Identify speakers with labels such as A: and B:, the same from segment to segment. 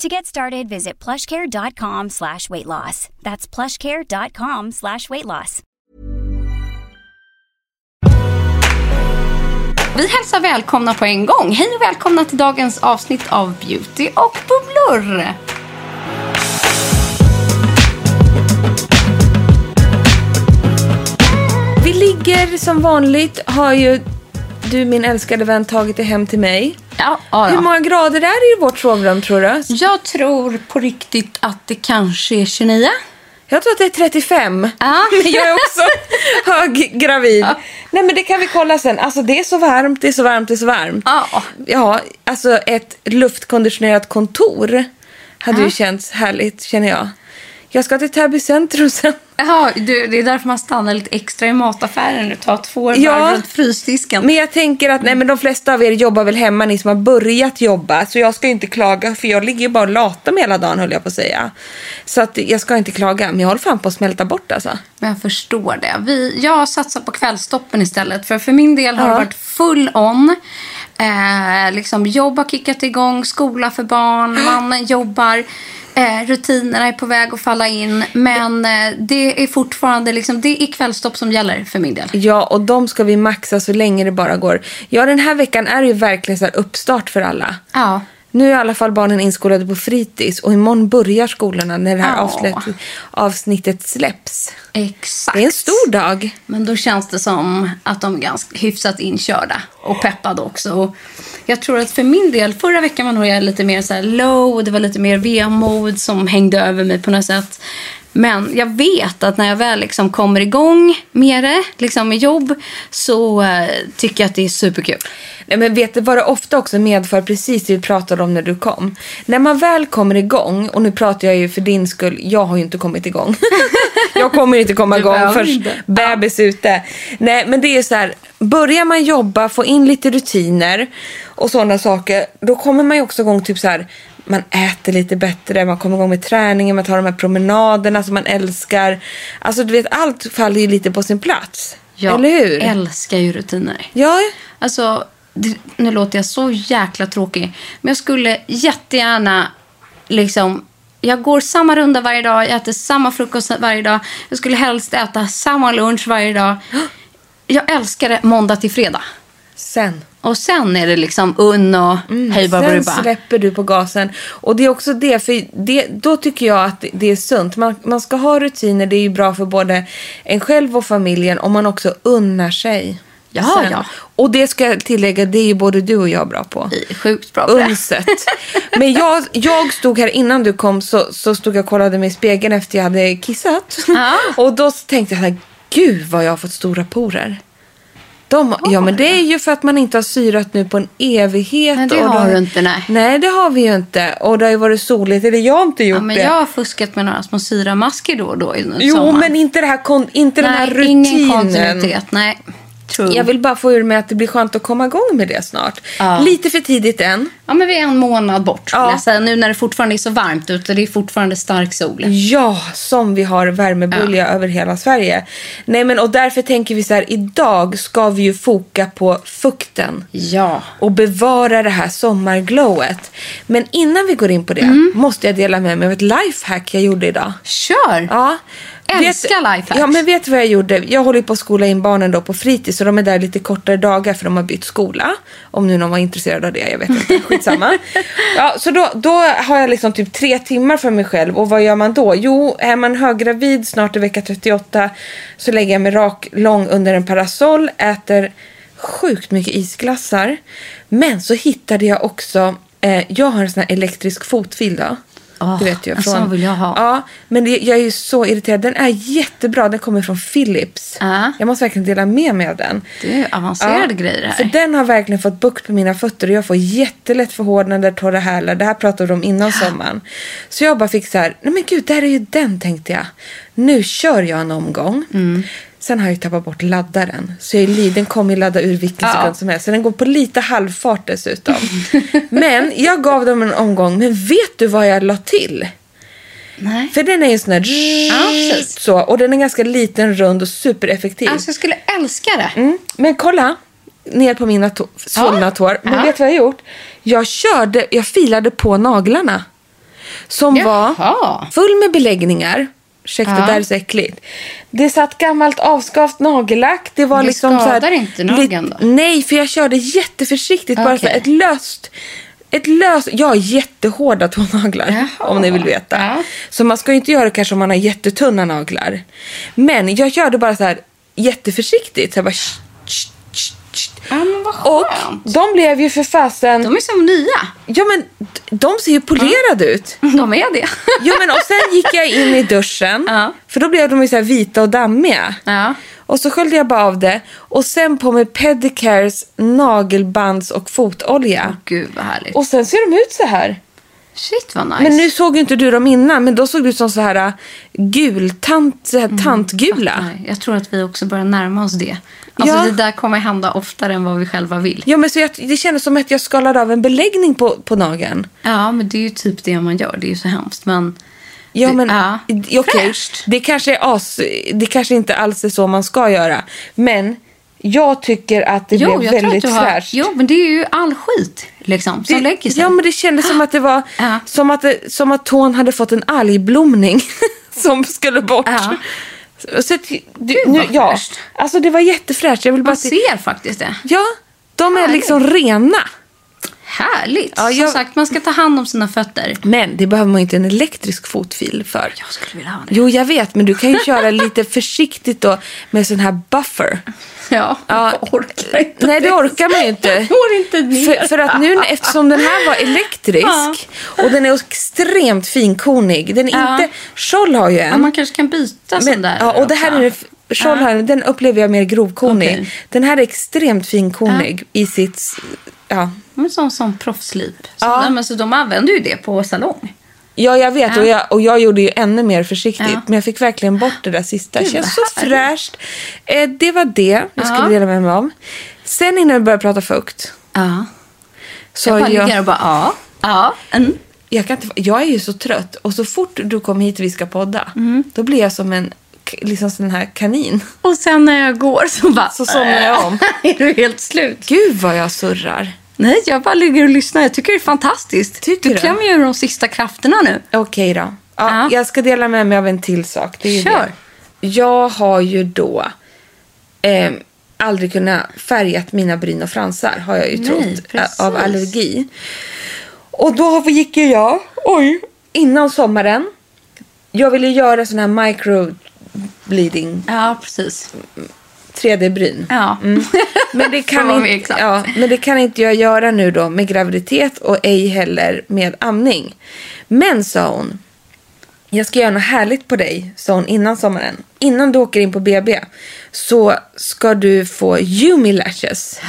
A: To get started, visit plushcare.com slash weight loss. That's plushcare.com slash weight loss.
B: Vi hälsar välkomna på en gång. Hej och välkomna till dagens avsnitt av Beauty och bubblor.
C: Vi ligger som vanligt, har ju du min älskade vän tagit det hem till mig.
B: Ja, ja,
C: Hur
B: ja.
C: många grader är det i vårt sovrum tror du?
B: Jag tror på riktigt att det kanske är 29.
C: Jag tror att det är 35.
B: Ja.
C: Men jag är också höggravid. Nej men det kan vi kolla sen. Alltså det är så varmt, det är så varmt, det är så varmt.
B: Ja.
C: Ja, alltså ett luftkonditionerat kontor hade ju känts härligt känner jag. Jag ska till Täby centrum sen.
B: Jaha, du, det är därför man stannar lite extra i mataffären nu. Tar två varv
C: Ja.
B: runt frysdisken.
C: Men jag tänker att nej, men de flesta av er jobbar väl hemma, ni som har börjat jobba. Så jag ska ju inte klaga, för jag ligger ju bara och latar mig hela dagen höll jag på att säga. Så att jag ska inte klaga, men jag håller fan på att smälta bort alltså.
B: Men jag förstår det. Vi, jag satsar på kvällstoppen istället. För för min del har det
C: Ja.
B: varit full on. Eh, liksom jobb har kickat igång, skola för barn, mannen jobbar. Eh, rutinerna är på väg att falla in. Men eh, det är fortfarande liksom, det är kvällstopp som gäller för min del.
C: Ja, och de ska vi maxa så länge det bara går. Ja, den här veckan är ju verkligen så här uppstart för alla.
B: Ja.
C: Nu är i alla fall barnen inskolade på fritids och imorgon börjar skolorna när det här
B: Ja.
C: avsnitt, avsnittet släpps.
B: Exakt.
C: Det är en stor dag.
B: Men då känns det som att de är ganska hyfsat inkörda och peppade också. Och jag tror att för min del, förra veckan var nog jag lite mer så här low och det var lite mer vemod som hängde över mig på något sätt. Men jag vet att när jag väl liksom kommer igång med det, liksom med jobb, så eh, tycker jag att det är superkul.
C: Nej, men vet du vad det ofta också medför, precis det vi pratade om när du kom? När man väl kommer igång, och nu pratar jag ju för din skull, jag har ju inte kommit igång. jag kommer inte komma
B: Du
C: igång
B: behöver
C: först
B: inte.
C: bebis ute. Nej, men det är så här, börjar man jobba, få in lite rutiner och sådana saker, då kommer man ju också igång typ så här, man äter lite bättre, man kommer igång med träningen, man tar de här promenaderna som man älskar. Alltså du vet, allt faller ju lite på sin plats.
B: Jag
C: Eller hur?
B: älskar ju rutiner.
C: ja,
B: Alltså, det, nu låter jag så jäkla tråkig. Men jag skulle jättegärna liksom... Jag går samma runda varje dag, jag äter samma frukost varje dag. Jag skulle helst äta samma lunch varje dag. Jag älskar det måndag till fredag.
C: sen.
B: Och sen är det liksom unn och hej
C: Mm, Sen
B: babba
C: släpper du på gasen. Och det är också det, för det, då tycker jag att det är sunt. Man, man ska ha rutiner, det är ju bra för både en själv och familjen om man också unnar sig.
B: Ja, ja.
C: Och det ska jag tillägga, det är ju både du och jag bra på.
B: Sjukt bra på det.
C: Unset. Men jag, jag stod här innan du kom så, så stod jag och kollade mig i spegeln efter jag hade kissat.
B: Ja.
C: Och då tänkte jag så här, gud vad jag har fått stora porer. De, ja men det är ju för att man inte har syrat nu på en evighet.
B: Men det
C: och
B: har
C: de-
B: du inte, nej.
C: Nej det har vi ju inte. Och det har ju varit soligt, eller jag har inte gjort
B: Ja, men
C: det.
B: jag har fuskat med några små syramasker då och då i
C: Jo
B: sommar.
C: men inte, det här, kon- inte den här
B: Nej,
C: rutinen.
B: ingen kontinuitet. Nej. True.
C: Jag vill bara få ur mig att det blir skönt att komma igång med det snart.
B: Ja.
C: Lite för tidigt än.
B: Ja, men vi är en månad bort.
C: Ja.
B: Ja. Jag säga. Nu när det fortfarande är så varmt ute, det är fortfarande stark sol.
C: Ja, som vi har värmebölja över hela Sverige. Nej men och därför tänker vi så här, idag ska vi ju foka på fukten.
B: Ja.
C: och bevara det här sommarglowet. Men innan vi går in på det måste jag dela med mig av ett lifehack jag gjorde idag.
B: Kör!
C: Ja.
B: Älskar
C: Vet-
B: lifehacks.
C: Ja, men vet du vad jag gjorde? Jag håller ju på att skola in barnen då på fritids och de är där lite kortare dagar för de har bytt skola. Om nu någon var intresserad av det, jag vet inte. Skitsamma. ja, så då, då har jag liksom typ tre timmar för mig själv och vad gör man då? Jo, är man höggravid snart i vecka 38 så lägger jag mig rak lång under en parasoll, äter sjukt mycket isglassar. Men så hittade jag också, eh, jag har en sån här elektrisk fotfil då.
B: Åh,
C: du vet ju,
B: Ah, en sån vill jag ha.
C: Ja, Ja, men det, jag är ju så irriterad. Den är jättebra. Den kommer från Philips.
B: Ja.
C: Jag måste verkligen dela med mig av den.
B: Det är ju avancerade grejer här.
C: För den har verkligen fått bukt på mina fötter och jag får jättelätt förhårdnader, torra hälar. Det här pratade vi om innan sommaren. Så jag bara fick så här, nej men gud, där är ju den tänkte jag. Nu kör jag en omgång.
B: Mm.
C: Sen har jag ju tappat bort laddaren. Så jag är li- den kommer ju ladda ur vilken
B: Ja.
C: sekund som helst. Så den går på lite halvfart dessutom. men jag gav dem en omgång. Men vet du vad jag la till?
B: Nej.
C: För den är ju sån här...
B: Ja, precis.
C: så, och den är ganska liten, rund och supereffektiv.
B: Alltså, jag skulle älska det.
C: Mm. Men kolla ner på mina to- svullna
B: Ja.
C: tår. Men
B: Ja.
C: vet du vad jag gjort? Jag körde, jag filade på naglarna. Som
B: Jaha.
C: var full med beläggningar. Ursäkta,
B: Ja.
C: det här är så äckligt. Det satt gammalt avskavt nagellack. Det var
B: Det
C: liksom så här,
B: skadar inte nageln
C: lit-
B: då?
C: Nej, för jag körde jätteförsiktigt. Bara så
B: Okej.
C: här, ett löst... Ett löst... Jag har jättehårda tånaglar,
B: Jaha.
C: om ni vill veta.
B: Ja.
C: Så man ska ju inte göra det kanske om man har jättetunna naglar. Men jag körde bara så här jätteförsiktigt. Så jag bara... tsch, tsch, tsch, tsch.
B: Ja, men vad skönt.
C: Och de blev ju för fasen...
B: De är som nya.
C: Ja men de ser ju polerade ut.
B: De är det.
C: Mm. Jo men och sen gick jag in i duschen.
B: Ja.
C: För då blev de ju så här vita och dammiga.
B: Ja.
C: Och så sköljde jag bara av det. Och sen på med pedicares, nagelbands och fotolja.
B: Gud vad härligt.
C: Och sen ser de ut så här.
B: Shit vad nice.
C: Men nu såg ju inte du dem innan, men då såg du ut som så här äh, gul, tant, så här tantgula.
B: Mm. Nej, jag tror att vi också börjar närma oss det. Alltså
C: Ja.
B: det där kommer hända oftare än vad vi själva vill.
C: Ja, men så jag, det kändes som att jag skalade av en beläggning på, på nageln.
B: Ja, men det är ju typ det man gör. Det är ju så hemskt. Men
C: Ja,
B: Det-
C: men
B: ja.
C: i- okej.
B: Fräscht.
C: Det kanske är as, det kanske inte alls är så man ska göra. Men jag tycker att det
B: jo,
C: blev
B: jag tror att
C: väldigt
B: du har...
C: fräscht.
B: Jo, men det är ju all skit liksom som lägger sig.
C: Ja, men det kändes som att det var
B: Ja.
C: som, att, det- som att tån hade fått en algblomning som skulle bort.
B: Ja.
C: Så att, du,
B: vad
C: nu, ja,
B: fräscht.
C: alltså det var jättefräscht. Jag vill bara
B: Man
C: se-
B: ser faktiskt det.
C: Ja, de är
B: Härligt.
C: liksom rena.
B: Härligt.
C: Ja, jag-
B: Som sagt, man ska ta hand om sina fötter.
C: Men det behöver man ju inte en elektrisk fotfil för.
B: Jag skulle vilja ha det.
C: Jo, jag vet, men du kan ju köra lite försiktigt då med sån här buffer.
B: Ja, jag orkar inte.
C: Nej, det orkar man ju inte.
B: Jag går inte ner.
C: För, för att nu eftersom den här var elektrisk och den är extremt finkornig. Den är
B: Ja.
C: inte... Scholl har ju en.
B: Ja, man kanske kan byta sån
C: Men,
B: där.
C: ja, och det här
B: också.
C: är den- Scholl här, den upplever jag mer grovkornig.
B: Okej.
C: Den här är extremt finkornig i sitt... Ja,
B: Men sån som proffslip. Så,
C: Ja.
B: nej, men, så de använder ju det på salong.
C: Ja, jag vet. Och, jag, och jag gjorde ju ännu mer försiktigt.
B: Ja.
C: Men jag fick verkligen bort det där sista.
B: Gud,
C: känns så
B: vad härligt.
C: fräscht. Eh, det var det jag skulle
B: Ja.
C: dela med mig av. Sen innan vi började prata fukt.
B: Ja.
C: Så
B: Jag bara
C: jag,
B: ligger och bara, ja. Ja. Mm.
C: jag, kan inte, jag är ju så trött. Och så fort du kommer hit och vi ska podda.
B: Mm.
C: Då blir jag som en k- liksom sån här kanin.
B: Och sen när jag går så bara...
C: Så somnar jag om.
B: är du helt slut?
C: Gud vad jag surrar.
B: Nej, jag bara ligger och lyssnar. Jag tycker det är fantastiskt.
C: Tycker
B: du
C: du?
B: klämmer ju ur de sista krafterna nu.
C: Okej då. Ja,
B: Ja.
C: Jag ska dela med mig av en till sak. Det är ju
B: Kör.
C: Det. Jag har ju då eh, aldrig kunnat färgat mina bryn och fransar har jag ju
B: Nej,
C: trott ä-
B: precis.
C: av allergi. Och då gick ju jag, oj, innan sommaren. Jag ville göra sån här micro bleeding
B: Ja, precis.
C: 3D-bryn.
B: Ja.
C: Mm. Men det,
B: För att vara
C: kan
B: mer
C: inte,
B: exakt.
C: ja, men det kan inte jag göra nu då med graviditet och ej heller med amning. Men sa hon, jag ska göra något härligt på dig, sa hon innan sommaren. Innan du åker in på BB så ska du få Yumi lashes.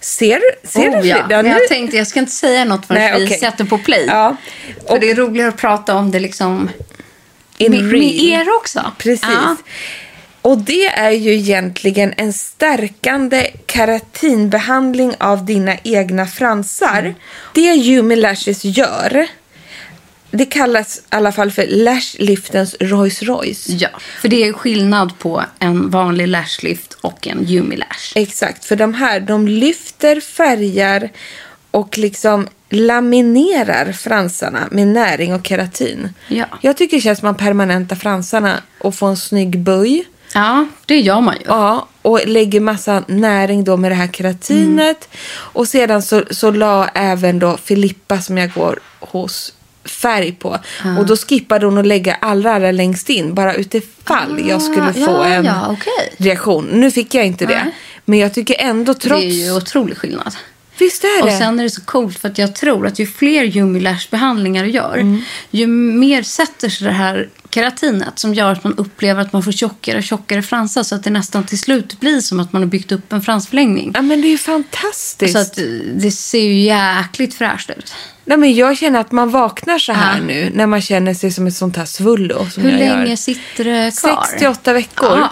C: Ser, ser
B: Oh,
C: du?
B: ja.
C: Ja,
B: Men
C: nu-
B: jag tänkte jag ska inte säga något förrän
C: Nej,
B: vi
C: okej.
B: sätter på play.
C: Ja.
B: För
C: Och-
B: det är roligare att prata om det liksom
C: In
B: med, med
C: real.
B: er också.
C: Precis.
B: Ja.
C: Och det är ju egentligen en stärkande keratinbehandling av dina egna fransar.
B: Mm.
C: Det Yumi Lashes gör, det kallas i alla fall för Lash Liftens Rolls Royce.
B: Ja, för det är skillnad på en vanlig lashlift och en Yumi-lash.
C: Exakt, för de här de lyfter, färgar och liksom laminerar fransarna med näring och keratin.
B: Ja.
C: Jag tycker det känns som att man permanentar fransarna och får en snygg böj.
B: Ja, det gör man ju.
C: Ja, och lägger massa näring då med det här keratinet.
B: Mm.
C: Och sedan så, så la även då Filippa som jag går hos färg på. Och då skippade hon att lägga allra, allra längst in. Bara utifall jag skulle få
B: Ah, ja,
C: en
B: ja, okej.
C: reaktion. Nu fick jag inte det.
B: Nej.
C: Men jag tycker ändå trots...
B: Det är ju otrolig skillnad.
C: Visst är
B: Och
C: det?
B: sen är det så coolt för att jag tror att ju fler Yumi-lash-behandlingar du gör,
C: Mm.
B: ju mer sätter sig det här keratinet som gör att man upplever att man får tjockare och tjockare fransar så att det nästan till slut blir som att man har byggt upp en fransförlängning.
C: Ja men det är ju fantastiskt.
B: Så att eh, det ser ju jäkligt fräscht ut.
C: Nej, men jag känner att man vaknar så här
B: Ja.
C: nu när man känner sig som ett sånt här svullo. Som
B: Hur
C: jag
B: länge
C: gör.
B: sitter det kvar?
C: 68 veckor.
B: Ja.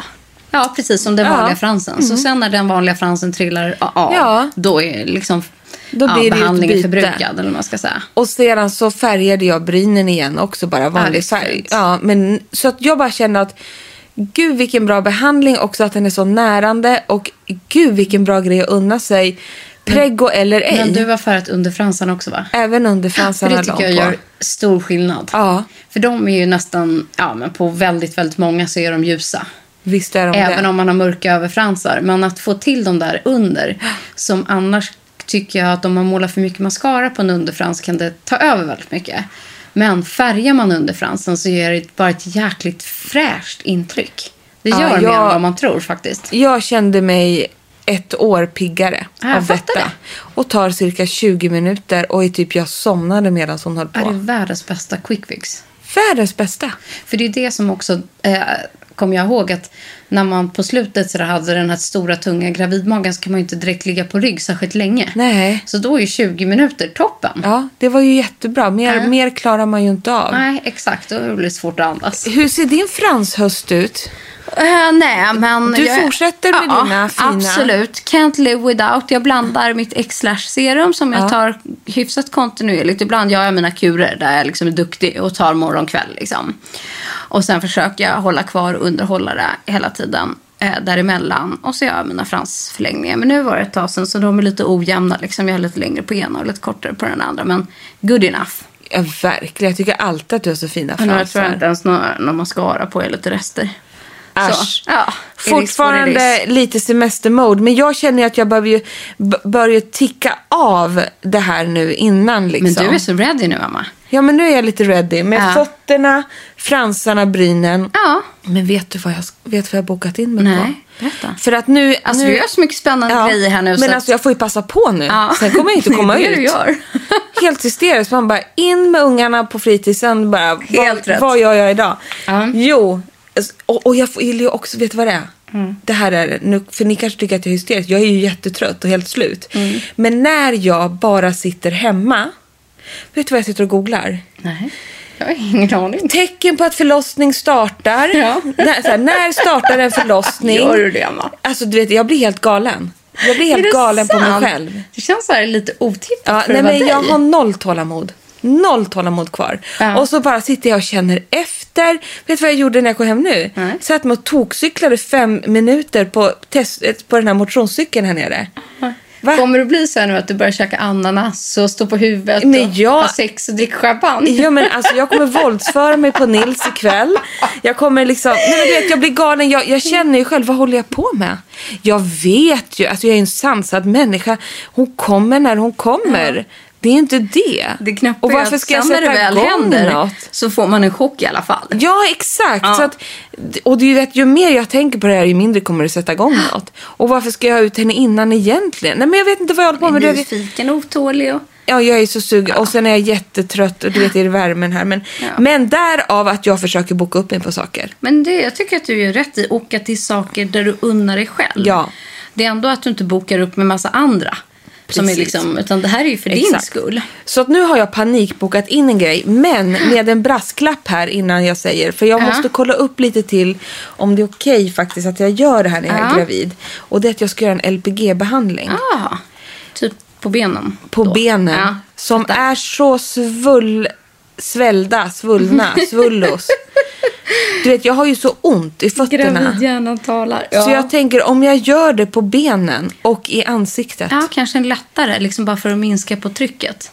B: ja, precis som den
C: Ja. Mm-hmm.
B: vanliga fransen. Så sen när den vanliga fransen trillar av,
C: Ja.
B: då är liksom
C: Då
B: ja,
C: blir det ju ett
B: behandlingen
C: byte.
B: förbrukad. Eller vad man ska säga.
C: Och sedan så färgade jag brynen igen också, bara
B: det
C: vanlig
B: är
C: färg.
B: fint.
C: Ja, men, så att jag bara kände att gud vilken bra behandling också att den är så närande och gud vilken bra grej att unna sig. Preggo eller ej.
B: Men du var färgat under fransarna också va?
C: Även under
B: För
C: fransarna
B: det tycker jag
C: lång på.
B: gör stor skillnad.
C: Ja.
B: För de är ju nästan, ja men på väldigt, väldigt många så är de ljusa.
C: Visst är de
B: Även
C: det.
B: om man har mörka överfransar. Men att få till de där under, som annars tycker jag att om man målar för mycket mascara på en underfrans kan det ta över väldigt mycket. Men färgar man underfransen så ger det bara ett jäkligt fräscht intryck. Det
C: Ja,
B: gör mer
C: jag-
B: än vad man tror faktiskt.
C: Jag kände mig ett år piggare
B: Ja, jag
C: av
B: fattar
C: detta.
B: det.
C: Och tar cirka 20 minuter och är typ jag somnade medan hon höll
B: Är det
C: på.
B: världens bästa quick fix?
C: Världens bästa.
B: För det är det som också eh, kommer jag ihåg att när man på slutet så där hade den här stora tunga gravidmagen så kan man ju inte direkt ligga på rygg särskilt länge.
C: Nej.
B: Så då är ju 20 minuter toppen.
C: Ja, det var ju jättebra. Mer, mer klarar man ju inte av.
B: Nej, exakt. Då blir det svårt att andas.
C: Hur ser din franshöst ut?
B: Eh, nej, men...
C: Du fortsätter med
B: ja,
C: dina fina-
B: Absolut. Can't live without. Jag blandar mitt X-Lash-serum som jag
C: Ja.
B: tar hyfsat kontinuerligt. Ibland gör jag mina kurer där jag liksom är duktig och tar morgon kväll. Liksom. Och sen försöker jag hålla kvar och underhålla det hela tiden eh, däremellan. Och så gör jag mina fransförlängningar. Men nu var det ett tag sedan så de är lite ojämna. Liksom. Jag har lite längre på ena och lite kortare på den andra. Men good enough.
C: Ja, verkligen. Jag tycker alltid att du har så fina
B: Men jag tror
C: fransar.
B: inte ens någon, någon mascara på är lite rester.
C: Äsch.
B: Så, ja, it is what it
C: Fortfarande
B: is.
C: lite semestermode, men jag känner ju att jag behöver ju b- börjar ticka av det här nu innan.
B: Men
C: Liksom.
B: du är så ready nu, mamma.
C: Ja, men nu är jag lite ready med
B: Ja.
C: fötterna, fransarna, brynen.
B: Ja.
C: Men vet du vad jag, vet du vad jag bokat in mig
B: Nej,
C: på?
B: berätta.
C: För att nu...
B: Alltså,
C: nu,
B: du gör så mycket spännande grejer här nu.
C: Men
B: så att-
C: alltså jag får ju passa på nu.
B: Ja.
C: Sen kommer jag inte
B: Det är
C: komma
B: det
C: ut.
B: du gör.
C: Helt hysteriskt. Man bara in med ungarna på fritidsen. Bara,
B: Helt
C: vad,
B: rätt.
C: vad gör jag idag?
B: Ja.
C: Jo, alltså, och, och jag vill ju också, vet du vad det är?
B: Mm.
C: Det här är nu, för ni kanske tycker att jag är hysterisk. Jag är ju jättetrött och helt slut.
B: Mm.
C: Men när jag bara sitter hemma. Vet du vad jag sitter och googlar?
B: Nej, jag har ingen aning.
C: Tecken på att förlossning startar.
B: Ja.
C: När, så här, när startar en förlossning?
B: Gör du det, Emma?
C: Alltså du vet, jag blir helt galen. Jag blir
B: Är det
C: helt galen på
B: sant?
C: mig själv.
B: Det känns så här lite otippat
C: Ja,
B: för
C: nej,
B: att vara
C: men jag
B: dig.
C: har noll tålamod. Noll tålamod kvar.
B: Ja.
C: Och så bara sitter jag och känner efter. Vet du vad jag gjorde när jag kom hem nu?
B: Nej.
C: Satt mig och tokcyklade fem minuter på, test, på den här motionscykeln här nere. Va?
B: Kommer du bli så här nu att du börjar käka ananas och stå på huvudet
C: Men
B: och
C: jag-
B: ha sex och dricka champagne?
C: Ja, men alltså, jag kommer våldsföra mig på Nils ikväll. Jag kommer liksom... Nej, men du vet, jag blir galen. Jag, jag känner ju själv, vad håller jag på med? Jag vet ju, alltså jag är en sansad människa. Hon kommer när hon kommer. Det är inte det.
B: Det knäppa
C: och varför ska jag
B: sen när det
C: sätta
B: väl
C: igång
B: händer
C: något?
B: så får man en chock i alla fall.
C: Ja, exakt.
B: Ja.
C: Så att, och du vet, ju mer jag tänker på det här, ju mindre kommer det sätta igång något. Och varför ska jag ha ut henne innan egentligen? Nej, men jag vet inte vad jag håller på med. Du vet,
B: Nyfiken och otålig och...
C: ja, jag är så sugen och sen är jag jättetrött och du vet, det är värmen här. Men,
B: Ja.
C: men därav att jag försöker boka upp mig på saker.
B: Men det, jag tycker att du gör rätt i att åka till saker där du unnar dig själv.
C: Ja.
B: Det är ändå att du inte bokar upp med massa andra. Som är
C: Precis.
B: liksom, utan det här är ju för din
C: Exakt.
B: skull.
C: Så att nu har jag panikbokat in en grej, men med en brasklapp här innan jag säger. För jag
B: Ja.
C: måste kolla upp lite till om det är okej faktiskt att jag gör det här när jag är
B: Ja.
C: gravid. Och det är att jag ska göra en LPG-behandling
B: Ah, typ på benen.
C: på
B: då.
C: benen.
B: Ja.
C: Som är så svull... Svällda, svullna, svullos. Du vet, jag har ju så ont i fötterna.
B: Gravidhjärnan talar.
C: Så jag tänker om jag gör det på benen och i ansiktet.
B: ja, kanske en lättare, liksom bara för att minska på trycket.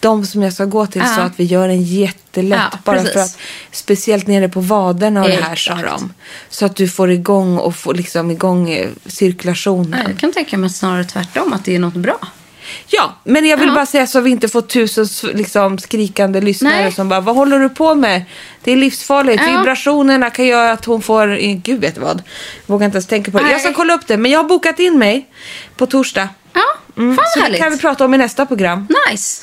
C: De som jag ska gå till
B: Ja.
C: sa att vi gör en jättelätt.
B: Ja,
C: bara
B: precis.
C: för att, speciellt nere på vaderna och det här sa
B: Exakt.
C: de. Så att du får igång och får liksom igång eh, cirkulationen.
B: Ja, jag kan tänka mig snarare tvärtom, att det är något bra.
C: Ja, men jag vill
B: Ja.
C: bara säga så vi inte får tusen s- liksom, skrikande lyssnare
B: Nej.
C: som bara Vad håller du på med? Det är livsfarligt.
B: Ja.
C: Vibrationerna kan göra att hon får... eh, Gud vet vad. Vågar inte ens tänka på det. Jag ska
B: Nej.
C: kolla upp det. Men jag har bokat in mig på torsdag.
B: Ja,
C: Mm,
B: fan
C: så
B: vad härligt.
C: det kan vi prata om i nästa program.
B: Nice.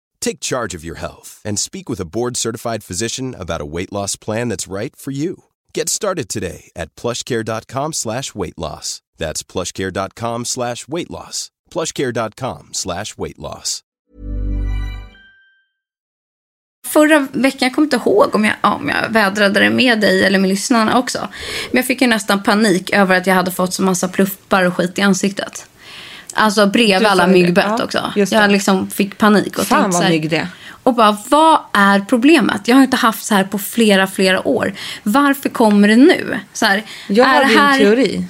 D: Take charge of your health and speak with a board-certified physician about a weight loss plan that's right for you. Get started today at plushcare.com slash weight loss. That's plushcare.com slash weight loss. plushcare.com slash weight loss.
B: Förra veckan, jag kommer inte ihåg om jag, ja, om jag vädrade det med dig eller med lyssnarna också. Men jag fick ju nästan panik över att jag hade fått så massa pluppar och skit i ansiktet. Alltså
C: Du
B: bredvid
C: sa
B: alla
C: ju det.
B: myggbett
C: Ja,
B: också.
C: just det.
B: Jag liksom fick panik och
C: Fan
B: tänkte
C: vad
B: så här-
C: mygg det är.
B: Och bara, vad är problemet? Jag har inte haft så här på flera, flera år. Varför kommer det nu? Så här,
C: Jag
B: är
C: har
B: det
C: din
B: här-
C: teori.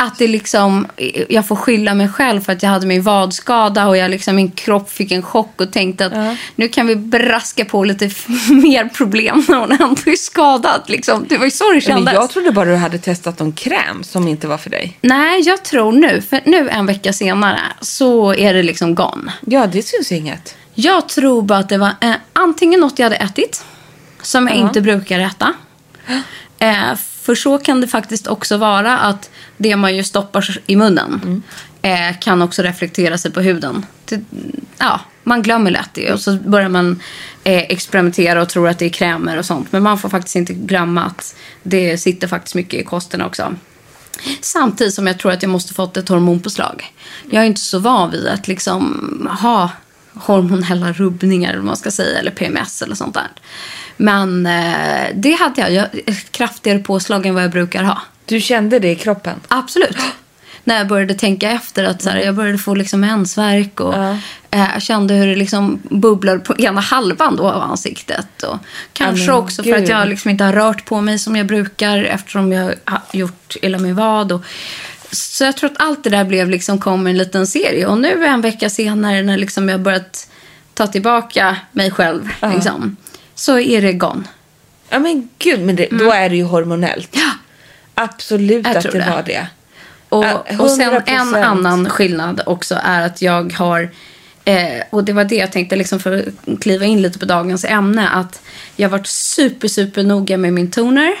B: att det liksom, jag får skylla mig själv för att jag hade min vadskada och jag liksom, min kropp fick en chock och tänkte att nu kan vi braska på lite f- mer problem när hon ändå är skadad. Liksom. Det var ju så det
C: Men
B: kändes.
C: jag trodde bara du hade testat någon kräm som inte var för dig.
B: Nej, jag tror nu, för nu en vecka senare så är det liksom gone.
C: Ja, det syns inget.
B: Jag tror bara att det var eh, antingen något jag hade ätit som jag inte brukar äta. Eh, för så kan det faktiskt också vara att det man ju stoppar i munnen eh, kan också reflektera sig på huden. Det, ja, man glömmer lätt det och så börjar man eh, experimentera och tror att det är krämer och sånt. Men man får faktiskt inte glömma att det sitter faktiskt mycket i kosten också. Samtidigt som jag tror att jag måste fått ett hormonpåslag. Jag är inte så van vid att liksom ha hormonella rubbningar eller vad man ska säga, eller PMS eller sånt där. Men eh, det hade jag. jag. Ett kraftigare påslag än vad jag brukar ha.
C: Du kände det i kroppen.
B: Absolut. när jag började tänka efter. att så här, Jag började få liksom mensvärk och eh, jag kände hur det liksom bubblade på ena halvan då av ansiktet. Och kanske
C: men
B: också för att
C: gud.
B: jag liksom inte har rört på mig som jag brukar eftersom jag har gjort illa min vad. Och, så jag tror att allt det där blev liksom, kom i en liten serie. Och nu en vecka senare när liksom jag börjat ta tillbaka mig själv liksom, så är det gone.
C: Ja men gud, men det, då är det ju hormonellt.
B: Ja.
C: Absolut
B: Jag
C: att det,
B: tror det.
C: var det. Ja,
B: Och, och sen en
C: 100%.
B: annan skillnad också är att jag har Eh, och det var det jag tänkte liksom för att kliva in lite på dagens ämne. Att jag har varit super, super noga med min toner.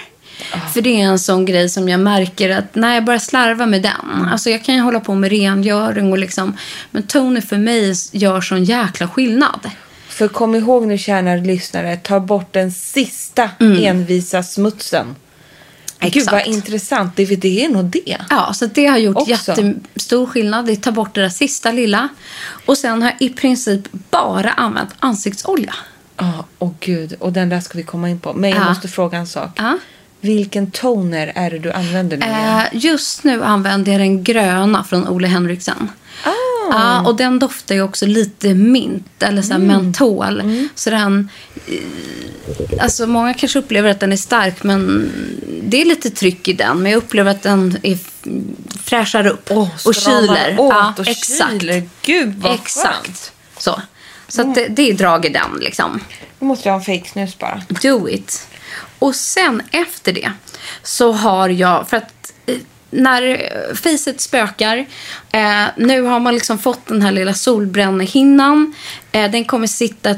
C: Ah.
B: För det är en sån grej som jag märker att när jag börjar slarva med den. Alltså jag kan ju hålla på med rengöring och liksom. Men toner för mig gör sån jäkla skillnad.
C: För kom ihåg nu kära lyssnare, ta bort den sista envisa smutsen. Gud vad
B: Exakt.
C: intressant, det, det är nog det.
B: Ja, så det har gjort
C: Också.
B: jättestor skillnad. Det tar bort det där sista lilla. Och sen har jag i princip bara använt ansiktsolja.
C: Ja, åh gud. Och den där ska vi komma in på. Men jag
B: Ja.
C: måste fråga en sak.
B: Ja.
C: Vilken toner är det du använder nu igen?
B: Eh, just nu använder jag den gröna från Ole Henriksen.
C: Ah.
B: Ja, och den doftar ju också lite mint eller så här
C: Mm.
B: mentol. Så den, eh, alltså många kanske upplever att den är stark men det är lite tryck i den. Men jag upplever att den är, f- fräschar upp
C: Åh,
B: och
C: stramar
B: kyler.
C: åt
B: Ja,
C: och kyler. Gud, vad skönt.
B: Exakt. Så, så att det, det är drag i den liksom.
C: Nu måste jag ha en fake snus bara.
B: Do it. Och sen efter det så har jag, för att eh, när eh, facet spökar, eh, nu har man liksom fått den här lilla solbrännehinnan. Eh, den kommer sitta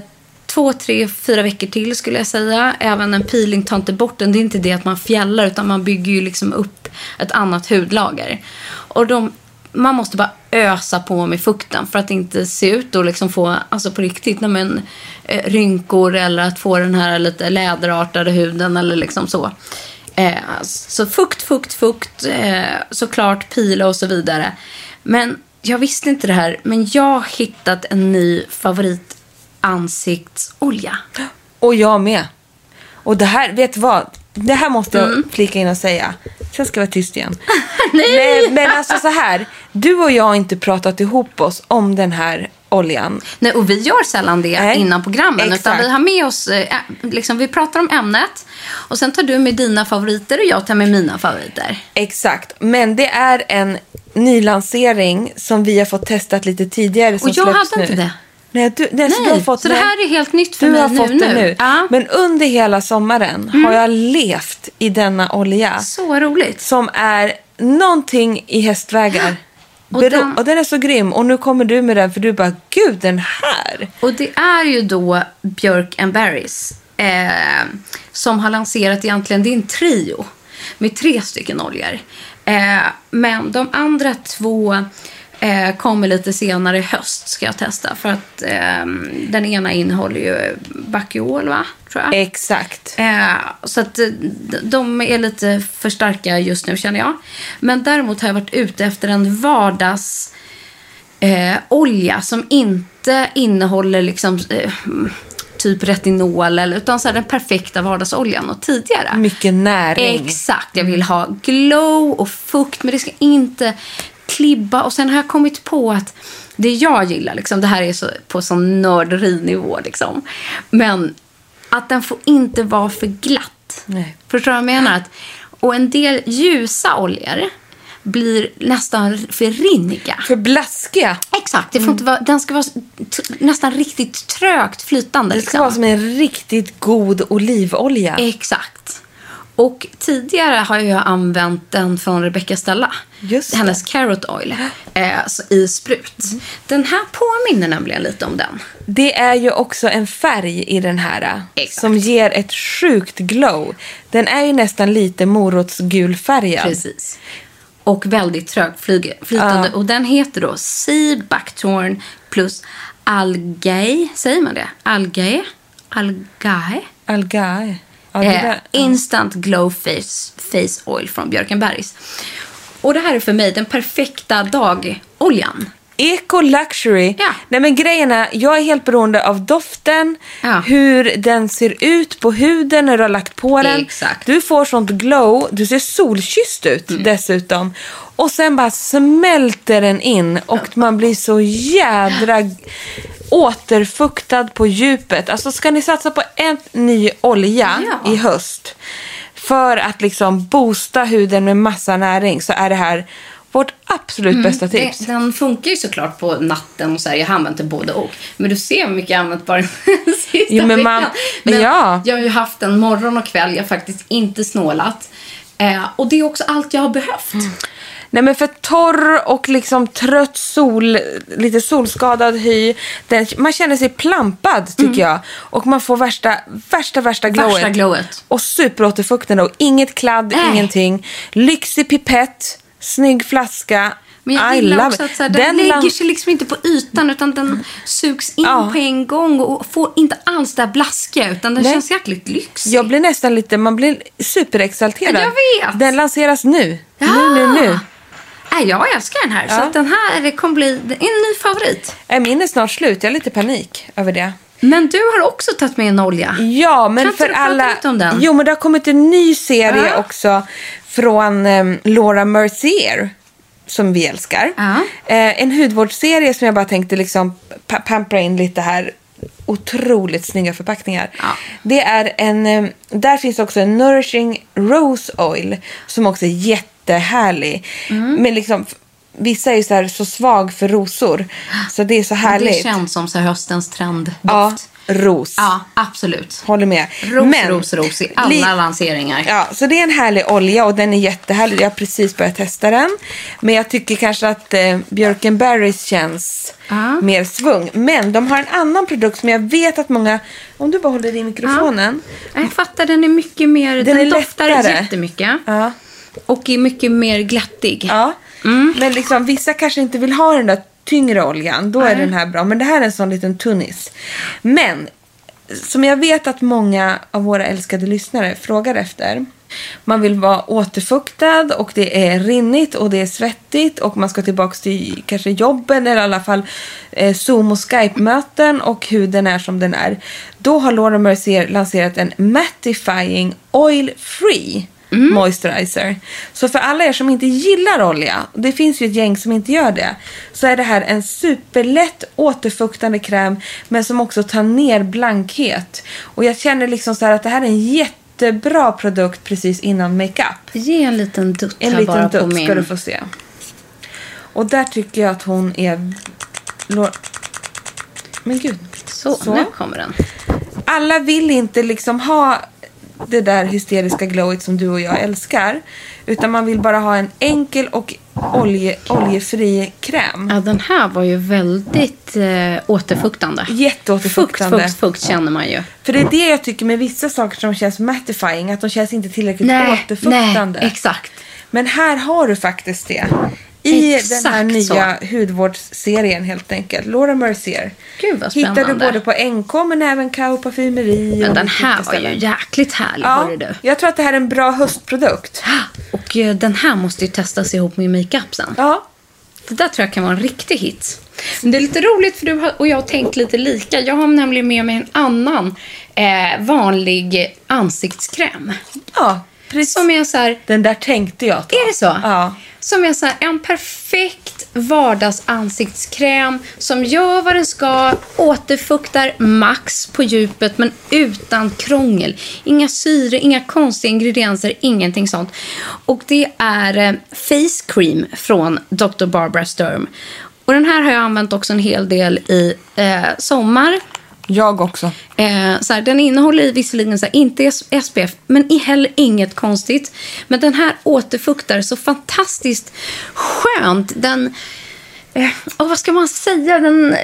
B: två, tre, fyra veckor till skulle jag säga. Även en peeling tar inte bort den. Det är inte det att man fjällar utan man bygger ju liksom upp ett annat hudlager. Och de, man måste bara ösa på med fukten för att inte se ut och liksom få, alltså på riktigt, nej men, eh, rynkor eller att få den här lite läderartade huden eller liksom så. Eh, så fukt, fukt, fukt, eh, såklart pila och så vidare. Men jag visste inte det här, men jag har hittat en ny favorit ansiktsolja.
C: Och jag med. Och det här, vet du vad? Det här måste jag
B: Mm.
C: flika in och säga. Sen ska jag vara tyst igen. Nej! men alltså så här. Du och jag har inte pratat ihop oss om den här oljan.
B: Nej, och vi gör sällan det
C: Nej,
B: innan programmen. Utan
C: exakt.
B: vi har med oss, eh, liksom, vi pratar om ämnet och sen tar du med dina favoriter och jag tar med mina favoriter.
C: Exakt. Men det är en nylansering som vi har fått testat lite tidigare. Som
B: Och jag
C: släpps
B: hade inte
C: nu.
B: det.
C: Nej, du, nej, så, du
B: Nej,
C: har fått
B: så det
C: den-
B: här är helt nytt för
C: du
B: mig
C: har
B: nu,
C: fått den
B: nu.
C: nu.
B: Ja. Mm.
C: Men under hela sommaren har jag levt i denna olja.
B: Så roligt.
C: som är någonting i hästvägar.
B: Och
C: Bero- Och den,
B: den-
C: är så grym och nu kommer du med den för du bara gud den här.
B: Och det är ju då Björk and Berries eh, som har lanserat egentligen, det är en trio med tre stycken oljor. Eh, men de andra två eh, kommer lite senare i höst ska jag testa för att eh, den ena innehåller ju bakiol va? Tror jag.
C: Exakt.
B: Eh, så att eh, d- de är lite för starka just nu känner jag. Men däremot har jag varit ute efter en vardags eh, olja som inte innehåller liksom eh, typ retinol eller utan så här den perfekta vardagsoljan och tidigare.
C: Mycket näring.
B: Exakt. Jag
C: Mm.
B: vill ha glow och fukt, men det ska inte klibba. Och sen har jag kommit på att det jag gillar, liksom, det här är så, på sån nörderinivå, liksom. men att den får inte vara för glatt.
C: Nej.
B: Förstår du vad jag menar? Att, och en del ljusa oljor blir nästan för rinniga.
C: För Mm. blaskiga.
B: Exakt. Det får inte vara, den ska vara t- nästan riktigt trögt flytande. liksom.
C: Det ska vara som en riktigt god olivolja.
B: Exakt. Och tidigare har jag använt den från Rebecca Stella.
C: Just det. Mm.
B: Hennes carrot oil eh, så i sprut. Den här påminner nämligen lite om den.
C: Det är ju också en färg i den här eh,
B: Exakt.
C: som ger ett sjukt glow. Den är ju nästan lite morotsgul färgad.
B: Precis. Och väldigt trögflytande. Och den heter då Sea Buckthorn plus Algae. Säger man det? Algae? Algae?
C: Algae. Ja, det
B: Eh,
C: där-
B: instant glow face, face oil från Björkenbergs. Och det här är för mig den perfekta dagoljan.
C: Eco Luxury.
B: Ja.
C: Nej men grejen är, jag är helt beroende av doften,
B: Ja.
C: hur den ser ut på huden när du har lagt på den.
B: Exakt. Mm.
C: Du får sånt glow, du ser solkysst ut dessutom. Och sen bara smälter den in och man blir så jädra g- återfuktad på djupet. Alltså ska ni satsa på en ny olja
B: Ja.
C: i höst för att liksom boosta huden med massa näring så är det här vårt absolut bästa tips.
B: Mm. Det, den funkar ju såklart på natten och så här, jag har använt den både och. Men du ser hur mycket jag har använt bara den sista
C: Jo, men man-
B: veckan. Men
C: ja.
B: jag har ju haft en morgon och kväll, jag har faktiskt inte snålat. Eh, och det är också allt jag har behövt.
C: Mm. Nej men för torr och liksom trött sol, lite solskadad hy. Den, man känner sig plampad tycker jag. Och man får värsta, värsta, värsta glowet.
B: Mm. Värsta glowet. Äh.
C: Och superåterfuktande och inget kladd,
B: Nej.
C: ingenting. Lyxig pipett, snygg flaska.
B: Men jag
C: I
B: gillar
C: love
B: också
C: it.
B: att så här, den, lägger
C: lan-
B: sig liksom inte på ytan utan den sugs in
C: Ja.
B: på en gång och får inte alls det där blaskiga utan den
C: Nej.
B: känns jäkligt lyxig.
C: Jag blir nästan lite, man blir superexalterad.
B: Jag vet.
C: Den lanseras nu. Nu, nu, nu.
B: Nej, jag älskar den här. Så att den här det kommer bli det är en ny favorit.
C: Äh, Min är snart slut, jag har lite panik över det.
B: Men du har också tagit med en olja.
C: Ja, men
B: Kan inte
C: för
B: du prata
C: alla...
B: lite om den?
C: Jo, men det har kommit en ny serie
B: Ja.
C: också från eh, Laura Mercier som vi älskar.
B: Ja.
C: Eh, en hudvårdsserie som jag bara tänkte liksom pa- pampra in lite här. Otroligt snygga förpackningar.
B: Ja.
C: Det är en, eh, där finns också en Nourishing Rose Oil som också är jättehärlig.
B: Mm.
C: Men liksom, f- vissa är ju så, här, så svag för rosor. Så det är så härligt.
B: Det känns som så här höstens trenddoft.
C: ja, ros.
B: Ja, absolut.
C: Håller med.
B: Ros, ros, ros i alla lanseringar.
C: Ja, så det är en härlig olja och den är jättehärlig. Jag har precis börjat testa den. Men jag tycker kanske att eh, Björkenberries känns
B: Ja.
C: mer svung. Men de har en annan produkt som jag vet att många... Om du bara håller i mikrofonen.
B: Jag fattar, den är mycket mer... Den,
C: är
B: doftar
C: lättare.
B: jättemycket.
C: Ja.
B: Och är mycket mer glättig.
C: Ja. Men liksom, vissa kanske inte vill ha den där tyngre oljan. Då är den här bra. Men det här är en sån liten tunnis. Men som jag vet att många av våra älskade lyssnare frågar efter. Man vill vara återfuktad och det är rinnigt och det är svettigt och man ska tillbaka till kanske jobben eller i alla fall eh, Zoom och Skype-möten och huden är som den är. Då har Laura Mercier lanserat en Mattifying Oil Free
B: Mm.
C: moisturizer. Så för alla er som inte gillar olja, och det finns ju ett gäng som inte gör det, så är det här en superlätt återfuktande kräm men som också tar ner blankhet. Och jag känner liksom så här att det här är en jättebra produkt precis innan makeup.
B: Ge en liten dutt
C: En
B: här bara
C: liten
B: på
C: dutt
B: min.
C: ska du få se. Och där tycker jag att hon är... Lo- Men gud.
B: Så, nu kommer den.
C: Alla vill inte liksom ha det där hysteriska glowet som du och jag älskar. Utan man vill bara ha en enkel och olje, oljefri kräm.
B: Ja, den här var ju väldigt eh, återfuktande.
C: Jätteåterfuktande.
B: Fukt, fukt, fukt känner man ju.
C: För det är det jag tycker med vissa saker som känns mattifying. Att de känns inte tillräckligt
B: nej,
C: återfuktande.
B: exakt.
C: Men här har du faktiskt det. I
B: Exakt
C: den här
B: så.
C: nya hudvårdsserien helt enkelt. Laura Mercier.
B: Gud, vad
C: Hittar du
B: spännande.
C: både på NK men även Kao parfymeri.
B: Men
C: och
B: den
C: lite olika
B: här var ju
C: ställen.
B: jäkligt härlig,
C: Ja,
B: hörru du.
C: jag tror att det här är en bra höstprodukt.
B: Och eh, den här måste ju testas ihop med makeup sen.
C: Ja.
B: Det där tror jag kan vara en riktig hit. Men det är lite roligt för du har- och jag har tänkt lite lika. Jag har nämligen med mig en annan eh, vanlig ansiktskräm.
C: Ja, precis.
B: Som är så här,
C: Den där tänkte jag ta.
B: är det så?
C: Ja.
B: Som är så här, en perfekt vardagsansiktskräm som gör vad den ska, återfuktar max på djupet men utan krångel. Inga syre, inga konstiga ingredienser, ingenting sånt. Och det är eh, face cream från Dr. Barbara Sturm. Och den här har jag använt också en hel del i eh, sommar.
C: Jag också.
B: Eh, så här, den innehåller i visserligen så här, inte S- SPF, men i heller inget konstigt. Men den här återfuktar så fantastiskt skönt. Den... Eh, åh, vad ska man säga? Den... Eh,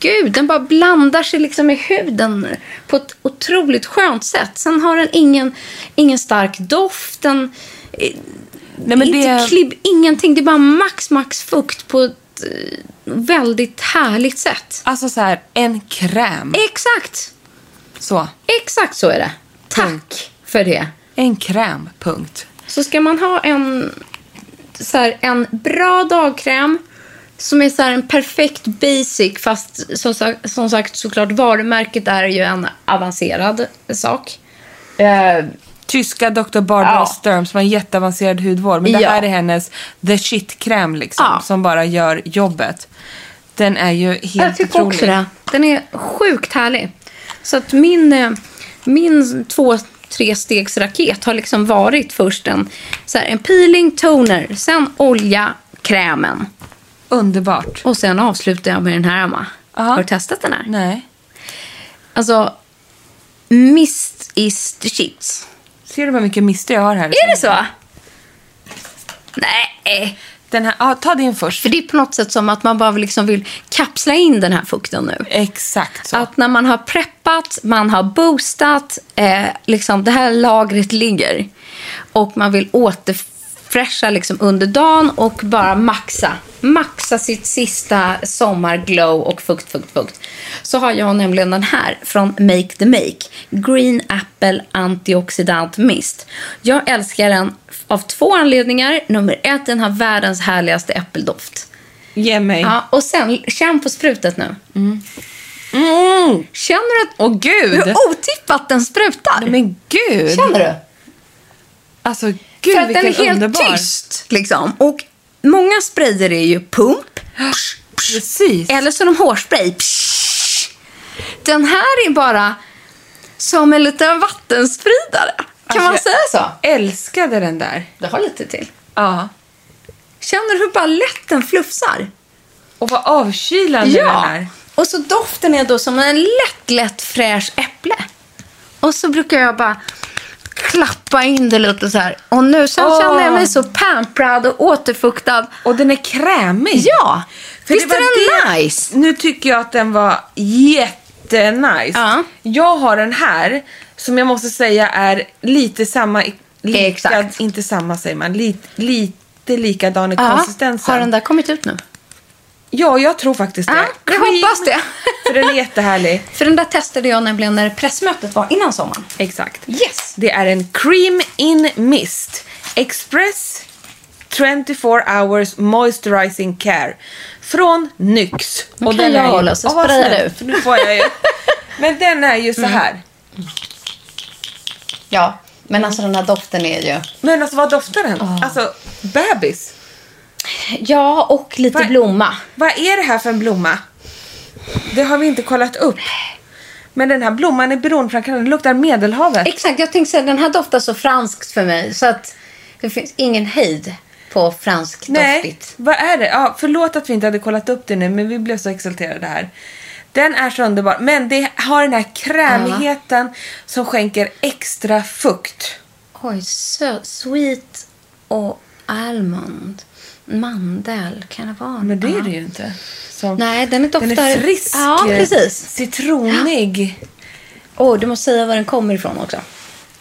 B: gud, den bara blandar sig liksom i huden på ett otroligt skönt sätt. Sen har den ingen, ingen stark doft. Den,
C: Nej, men
B: inte
C: det...
B: klibb, ingenting. Det är bara max, max fukt på ett eh, väldigt härligt sätt.
C: Alltså så här, en kräm.
B: Exakt!
C: Så.
B: Exakt så är det. Tack för det.
C: En kräm, punkt.
B: Så ska man ha en så här, en bra dagkräm som är så här, en perfekt basic fast som, sa- som sagt såklart varumärket är ju en avancerad sak. Eh,
C: Tyska Dr. Barbara
B: Ja.
C: Sturm som har en jätteavancerad hudvård. Men det
B: Ja.
C: här är hennes the shit-kräm liksom.
B: Ja.
C: Som bara gör jobbet. Den är ju helt
B: jag tycker
C: otrolig.
B: också det. Den är sjukt härlig. Så att min, eh, min två trestegsraket har liksom varit först en, så här, en peeling, toner, sen olja, krämen.
C: Underbart.
B: Och sen avslutar jag med den här, Emma.
C: Aha.
B: Har du testat den här?
C: Nej.
B: Alltså, mist is the shit.
C: Ser du vad mycket mister jag har här?
B: Är det så? Nej,
C: Den här, ja, ta din först.
B: för det är på något sätt som att man bara liksom vill kapsla in den här fukten nu.
C: Exakt så.
B: Att när man har preppat, man har boostat, eh, liksom det här lagret ligger och man vill återfräscha liksom under dagen och bara maxa. Maxa sitt sista sommarglow och fukt, fukt, fukt. Så har jag nämligen den här från Make the Make. Green Apple Antioxidant Mist. Jag älskar den av två anledningar. Nummer ett, den har världens härligaste äppeldoft.
C: Ge mig.
B: Ja, och sen, känn på sprutet nu.
C: Mm.
B: Känner du att
C: Åh gud.
B: hur otippat den sprutar.
C: Nej, men gud.
B: Känner du?
C: Alltså gud
B: För att den
C: vilken
B: är helt
C: underbar.
B: tyst. Liksom. Och många sprayer är ju pump. psh, psh,
C: Precis.
B: Eller så är de hårspray. psh. Den här är bara som en liten vattenspridare. Kan man
C: Alltså,
B: säga så?
C: Älskade den där.
B: Du har lite till.
C: Ja.
B: Känner du hur bara lätt den flufsar?
C: Och vad avkylande den är.
B: Och så doften är då som en lätt, lätt fräsch äpple. Och så brukar jag bara klappa in det lite så här. Och nu sen
C: Åh.
B: känner jag mig så pamprad och återfuktad.
C: Och den är krämig.
B: Ja!
C: För
B: Visst
C: det
B: är
C: var
B: den
C: det-
B: nice?
C: Nu tycker jag att den var jättenice.
B: Ja.
C: Jag har den här som jag måste säga är lite samma... Lika,
B: Exakt.
C: Inte samma säger man. Lite, lite likadan i
B: Ja.
C: konsistensen.
B: Har den där kommit ut nu?
C: Ja, jag tror faktiskt det.
B: Ja, jag hoppas det.
C: För den är jättehärlig.
B: För den där testade jag nämligen när pressmötet var innan sommaren.
C: Exakt.
B: Yes!
C: Det är en Cream in Mist Express 24 hours moisturizing care från NYX.
B: Nu kan jag hålla så
C: Åh, vad
B: sprayar
C: snällt,
B: du. Mm.
C: för Nu får jag ju. Men den är ju så här.
B: Ja, men alltså den här doften är ju...
C: Men alltså vad doftar den?
B: Ah.
C: Alltså bebis.
B: Ja, och lite
C: Vad-
B: blomma.
C: Vad är det här för en blomma? Det har vi inte kollat upp. Men den här blomman är beroendeframkallande. Den luktar medelhavet.
B: Exakt, jag tänkte säga den här doftar så franskt för mig så att det finns ingen hejd på franskt
C: Nej,
B: doftigt.
C: vad är det? Ja, förlåt att vi inte hade kollat upp det nu, men vi blev så exalterade här. Den är så underbar, men det har den här krämigheten som skänker extra fukt.
B: Oj, sö- sweet och almond. Mandel, kan det vara?
C: Men det
B: Ja.
C: är det ju inte. Som-
B: Nej, den är doftar...
C: Den är frisk,
B: Ja,
C: eh,
B: precis.
C: citronig
B: Åh, du måste säga var den kommer ifrån också.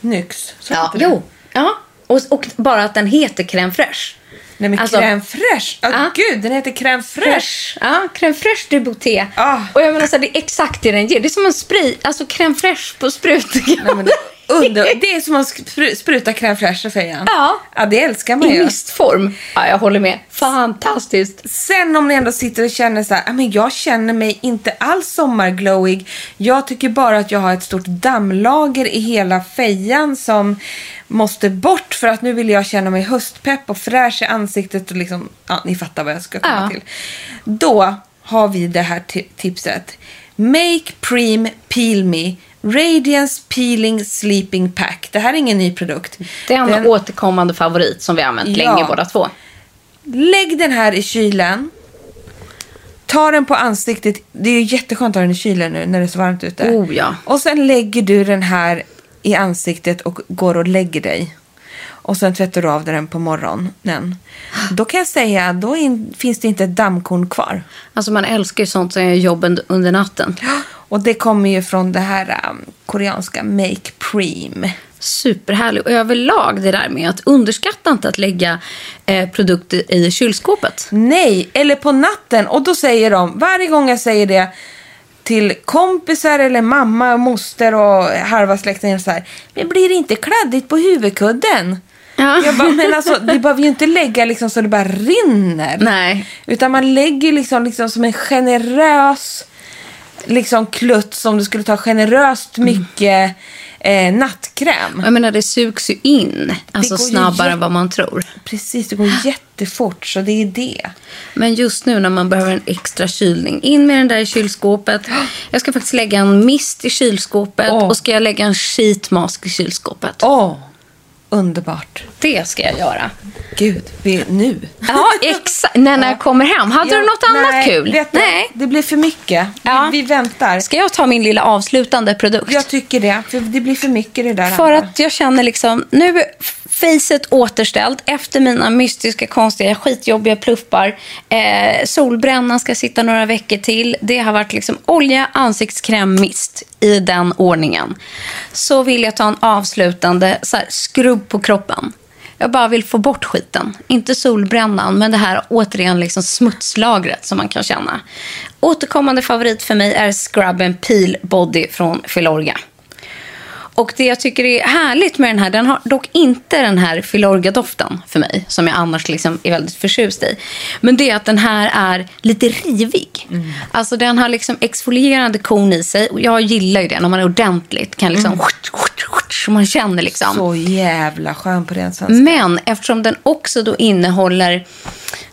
C: nyx. Så
B: Ja,
C: heter den.
B: jo. Ja. Och, och bara att den heter crème fraîche.
C: Nej men
B: Alltså-
C: crème fraîche. Ja,
B: Ja.
C: gud, den heter crème fraîche.
B: Ja, crème fraîche du Bouté.
C: Ah.
B: Och jag menar så här, det är exakt det den ger. Det är som en spray, alltså crème fraîche på sprut.
C: Nej, men det, är under, det är som att spru- spruta crème fraîche i fejan.
B: Ja.
C: ja, det älskar man
B: I
C: ju.
B: mistform. Ja, jag håller med. Fantastiskt.
C: Sen om ni ändå sitter och känner så här, "Ah, men jag känner mig inte alls sommarglowig. Jag tycker bara att jag har ett stort dammlager i hela fejan som måste bort för att nu vill jag känna mig höstpepp och fräsch i ansiktet och liksom, ja ni fattar vad jag ska komma
B: Ja.
C: till. Då har vi det här ti- tipset. Make Preem Peel Me Radiance Peeling Sleeping Pack. Det här är ingen ny produkt.
B: Det är en
C: Den-
B: återkommande favorit som vi har använt
C: Ja.
B: länge båda två.
C: Lägg den här i kylen. Ta den på ansiktet. Det är ju jätteskönt att ha den i kylen nu när det är så varmt ute.
B: Oh, ja.
C: Och sen lägger du den här i ansiktet och går och lägger dig. Och sen tvättar du av den på morgonen. Då kan jag säga, då in, finns det inte ett dammkorn kvar.
B: Alltså man älskar ju sånt som gör jobben under natten.
C: Och det kommer ju från det här um, koreanska Make Preem.
B: Superhärlig. Och överlag det där med att underskatta inte att lägga eh, produkter i kylskåpet.
C: Nej, eller på natten. Och då säger de, varje gång jag säger det till kompisar eller mamma och moster och halva släkten så här. Men blir det inte kladdigt på huvudkudden?
B: Ja.
C: Jag bara, men alltså det behöver ju inte lägga liksom så det bara rinner.
B: Nej.
C: Utan man lägger liksom, liksom som en generös liksom klutt som du skulle ta generöst mycket eh, nattkräm.
B: Och Jag menar, det sugs ju in alltså
C: går ju
B: snabbare
C: jätte-
B: än vad man tror.
C: Precis, det går jättefort så det är det.
B: Men just nu när man behöver en extra kylning, in med den där i kylskåpet. Jag ska faktiskt lägga en mist i kylskåpet
C: Åh.
B: och ska jag lägga en sheetmask i kylskåpet.
C: Åh, underbart.
B: Det ska jag göra.
C: Gud, vi är nu.
B: Ja, exakt. När, när jag kommer hem. Hade
C: Ja,
B: du något annat
C: nej,
B: kul?
C: Vet du,
B: Nej.
C: Det blir för mycket.
B: Ja.
C: Vi, vi väntar.
B: Ska jag ta min lilla avslutande produkt?
C: Jag tycker det, för det blir för mycket det där
B: För
C: andra.
B: att jag känner liksom, nu är facet återställt efter mina mystiska, konstiga, skitjobbiga pluppar. Eh, solbrännan ska sitta några veckor till. Det har varit liksom olja, ansiktskräm, mist i den ordningen. Så vill jag ta en avslutande så här, skrubb på kroppen. Jag bara vill få bort skiten. Inte solbrännan, men det här återigen liksom smutslagret som man kan känna. Återkommande favorit för mig är scrubben Peel Body från Filorga. Och det jag tycker är härligt med den här, den har dock inte den här Filorga-doften för mig, som jag annars liksom är väldigt förtjust i. Men det är att den här är lite rivig. Alltså den har liksom exfolierande kon i sig och jag gillar ju det när man är ordentligt kan liksom man känner liksom.
C: Så jävla skön på ren svenska.
B: Men eftersom den också då innehåller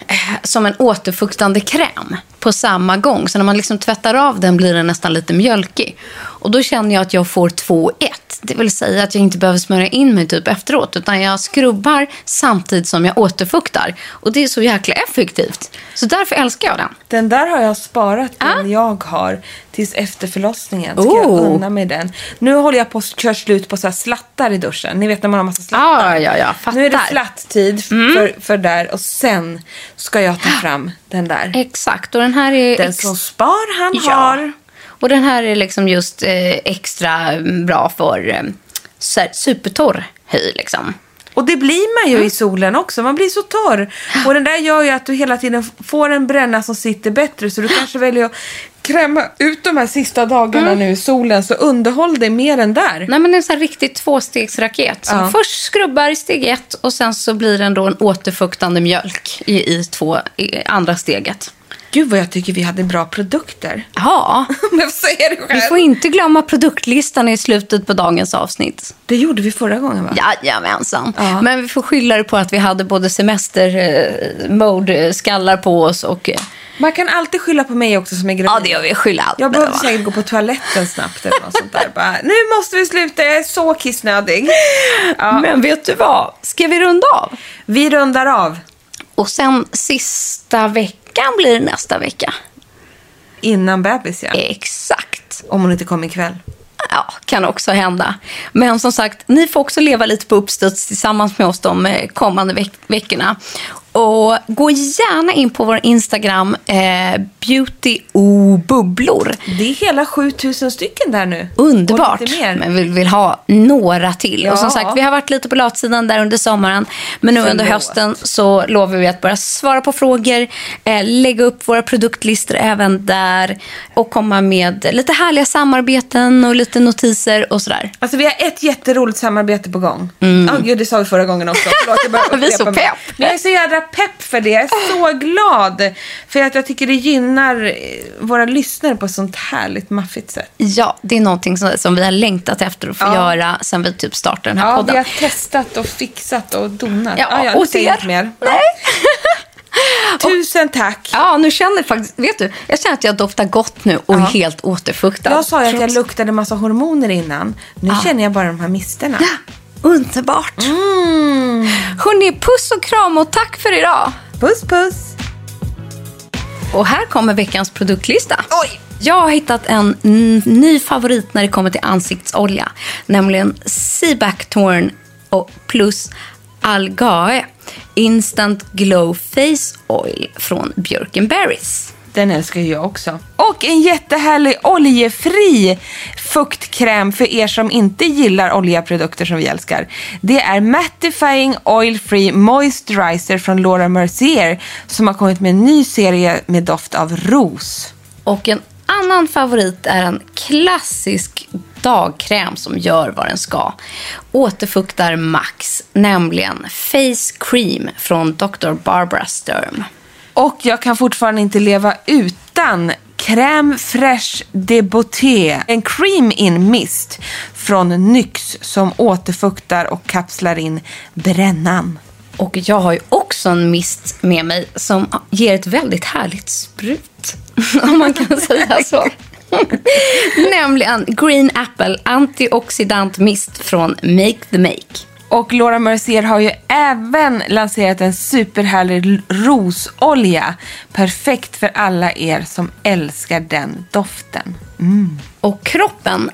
B: eh, som en återfuktande kräm på samma gång. Så när man liksom tvättar av den blir den nästan lite mjölkig. Och då känner jag att jag får två i ett. Det vill säga att jag inte behöver smörja in mig typ efteråt. Utan jag skrubbar samtidigt som jag återfuktar. Och det är så jäkla effektivt. Så därför älskar jag den.
C: Den där har jag sparat,
B: Ah.
C: den jag har, tills efter förlossningen. Ska jag
B: Oh.
C: unna mig den. Nu håller jag på att köra slut på så här slattar i duschen. Ni vet när man har massa slattar.
B: Ja, ja, ja. Fattar. Mm.
C: Nu är det slatt-tid f- för, för där och sen ska jag ta fram den där.
B: Exakt. Och den här är...
C: Den
B: Eh, ex-
C: som spar han
B: Ja.
C: har.
B: Och den här är liksom just eh, extra bra för eh, så här supertorr hy. Liksom.
C: Och det blir man ju i solen också. Man blir så torr. Och den där gör ju att du hela tiden f- får en bränna som sitter bättre. Så du kanske väljer att kräma ut de här sista dagarna nu i solen. Så underhåll dig med den där.
B: Nej, men det är en sån här riktig tvåstegsraket. Som
C: Ja.
B: Först skrubbar i steg ett och sen så blir den då en återfuktande mjölk i, i, två, i andra steget.
C: Gud vad jag tycker vi hade bra produkter.
B: Ja,
C: Om jag säger det
B: vi
C: själv.
B: får inte glömma produktlistan i slutet på dagens avsnitt.
C: Det gjorde vi förra gången va?
B: Jajamensan.
C: Ja.
B: Men alltså. vi får skylla det på att vi hade både semester-mode-skallar på oss och... eh,
C: Man kan alltid skylla på mig också som är gravid.
B: Ja, det gör vi. Skylla allt.
C: Jag
B: på det,
C: behövde
B: va?
C: säkert gå på toaletten snabbt eller något sånt där. Bara, nu måste vi sluta, jag är så kissnödig. Ja.
B: Men vet du vad? Ska vi runda av?
C: Vi rundar av
B: Och sen sista veckan blir det nästa vecka.
C: innan bebis ja.
B: Exakt.
C: Om hon inte kommer ikväll.
B: Ja, kan också hända. Men som sagt, ni får också leva lite på uppstuds tillsammans med oss de eh, kommande veck- veckorna. Och gå gärna in på vår Instagram, eh, beautyobubblor.
C: Det är hela 7000 stycken där nu.
B: Underbart.
C: Och lite mer.
B: Men vi vill ha några till. Och som
C: Ja.
B: sagt, vi har varit lite på latsidan där under sommaren. Men nu under
C: Förlåt.
B: hösten så lovar vi att börja svara på frågor, eh, lägga upp våra produktlistor även där och komma med lite härliga samarbeten och lite notiser och sådär.
C: Alltså vi har ett jätteroligt samarbete på gång. Ja, gud, det sa vi förra gången också. Förlåt, jag bara
B: Mm. Vi är så
C: upprepar mig.
B: pepp. Ah.
C: Men jag är så jädra pepp för det. Jag är så glad. För att jag tycker det gynnar eh, våra lyssnare på ett sånt härligt maffigt sätt.
B: Ja, det är någonting som, som vi har längtat efter att få
C: Ja.
B: göra sen vi typ startade den här
C: Ja,
B: podden.
C: vi har testat och fixat och donat.
B: Ja,
C: Ja, ja,
B: och
C: jag säger
B: er.
C: inget mer.
B: Nej.
C: Tusen tack.
B: Ja, nu känner jag faktiskt, vet du, jag känner att jag doftar gott nu och är
C: Ja.
B: helt återfuktad.
C: Jag sa ju att jag
B: Trots- Ah.
C: luktade massa hormoner innan. Nu känner jag bara de här misterna.
B: Underbart. Hörni, puss och kram och tack för idag.
C: Puss, puss.
B: Och här kommer veckans produktlista. Oj! Jag har hittat en n- ny favorit när det kommer till ansiktsolja. Nämligen Seabacktorn och plus Algae Instant Glow Face Oil från Björkenberries.
C: Den älskar ju jag också. Och en jättehärlig oljefri fuktkräm för er som inte gillar oljeprodukter som vi älskar. Det är Mattifying Oil Free Moisturizer från Laura Mercier som har kommit med en ny serie med doft av ros.
B: Och en annan favorit är en klassisk dagkräm som gör vad den ska. Återfuktar Max, nämligen Face Cream från Dr. Barbara Sturm.
C: Och jag kan fortfarande inte leva utan Crème fraîche de beauté. En cream in mist från NYX som återfuktar och kapslar in brännan.
B: Och jag har ju också en mist med mig som ger ett väldigt härligt sprut. Om man kan säga så. Nämligen Green Apple Antioxidant Mist från Make the Make.
C: Och Laura Mercier har ju även lanserat en superhärlig l- rosolja. Perfekt för alla er som älskar den doften.
B: Och kroppen,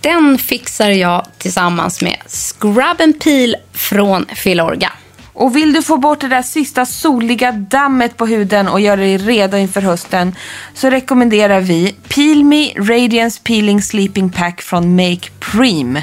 B: den fixar jag tillsammans med Scrub and Peel från Filorga.
C: Och vill du få bort det där sista soliga dammet på huden och göra dig redo inför hösten så rekommenderar vi Peel Me Radiance Peeling Sleeping Pack från Make Prime.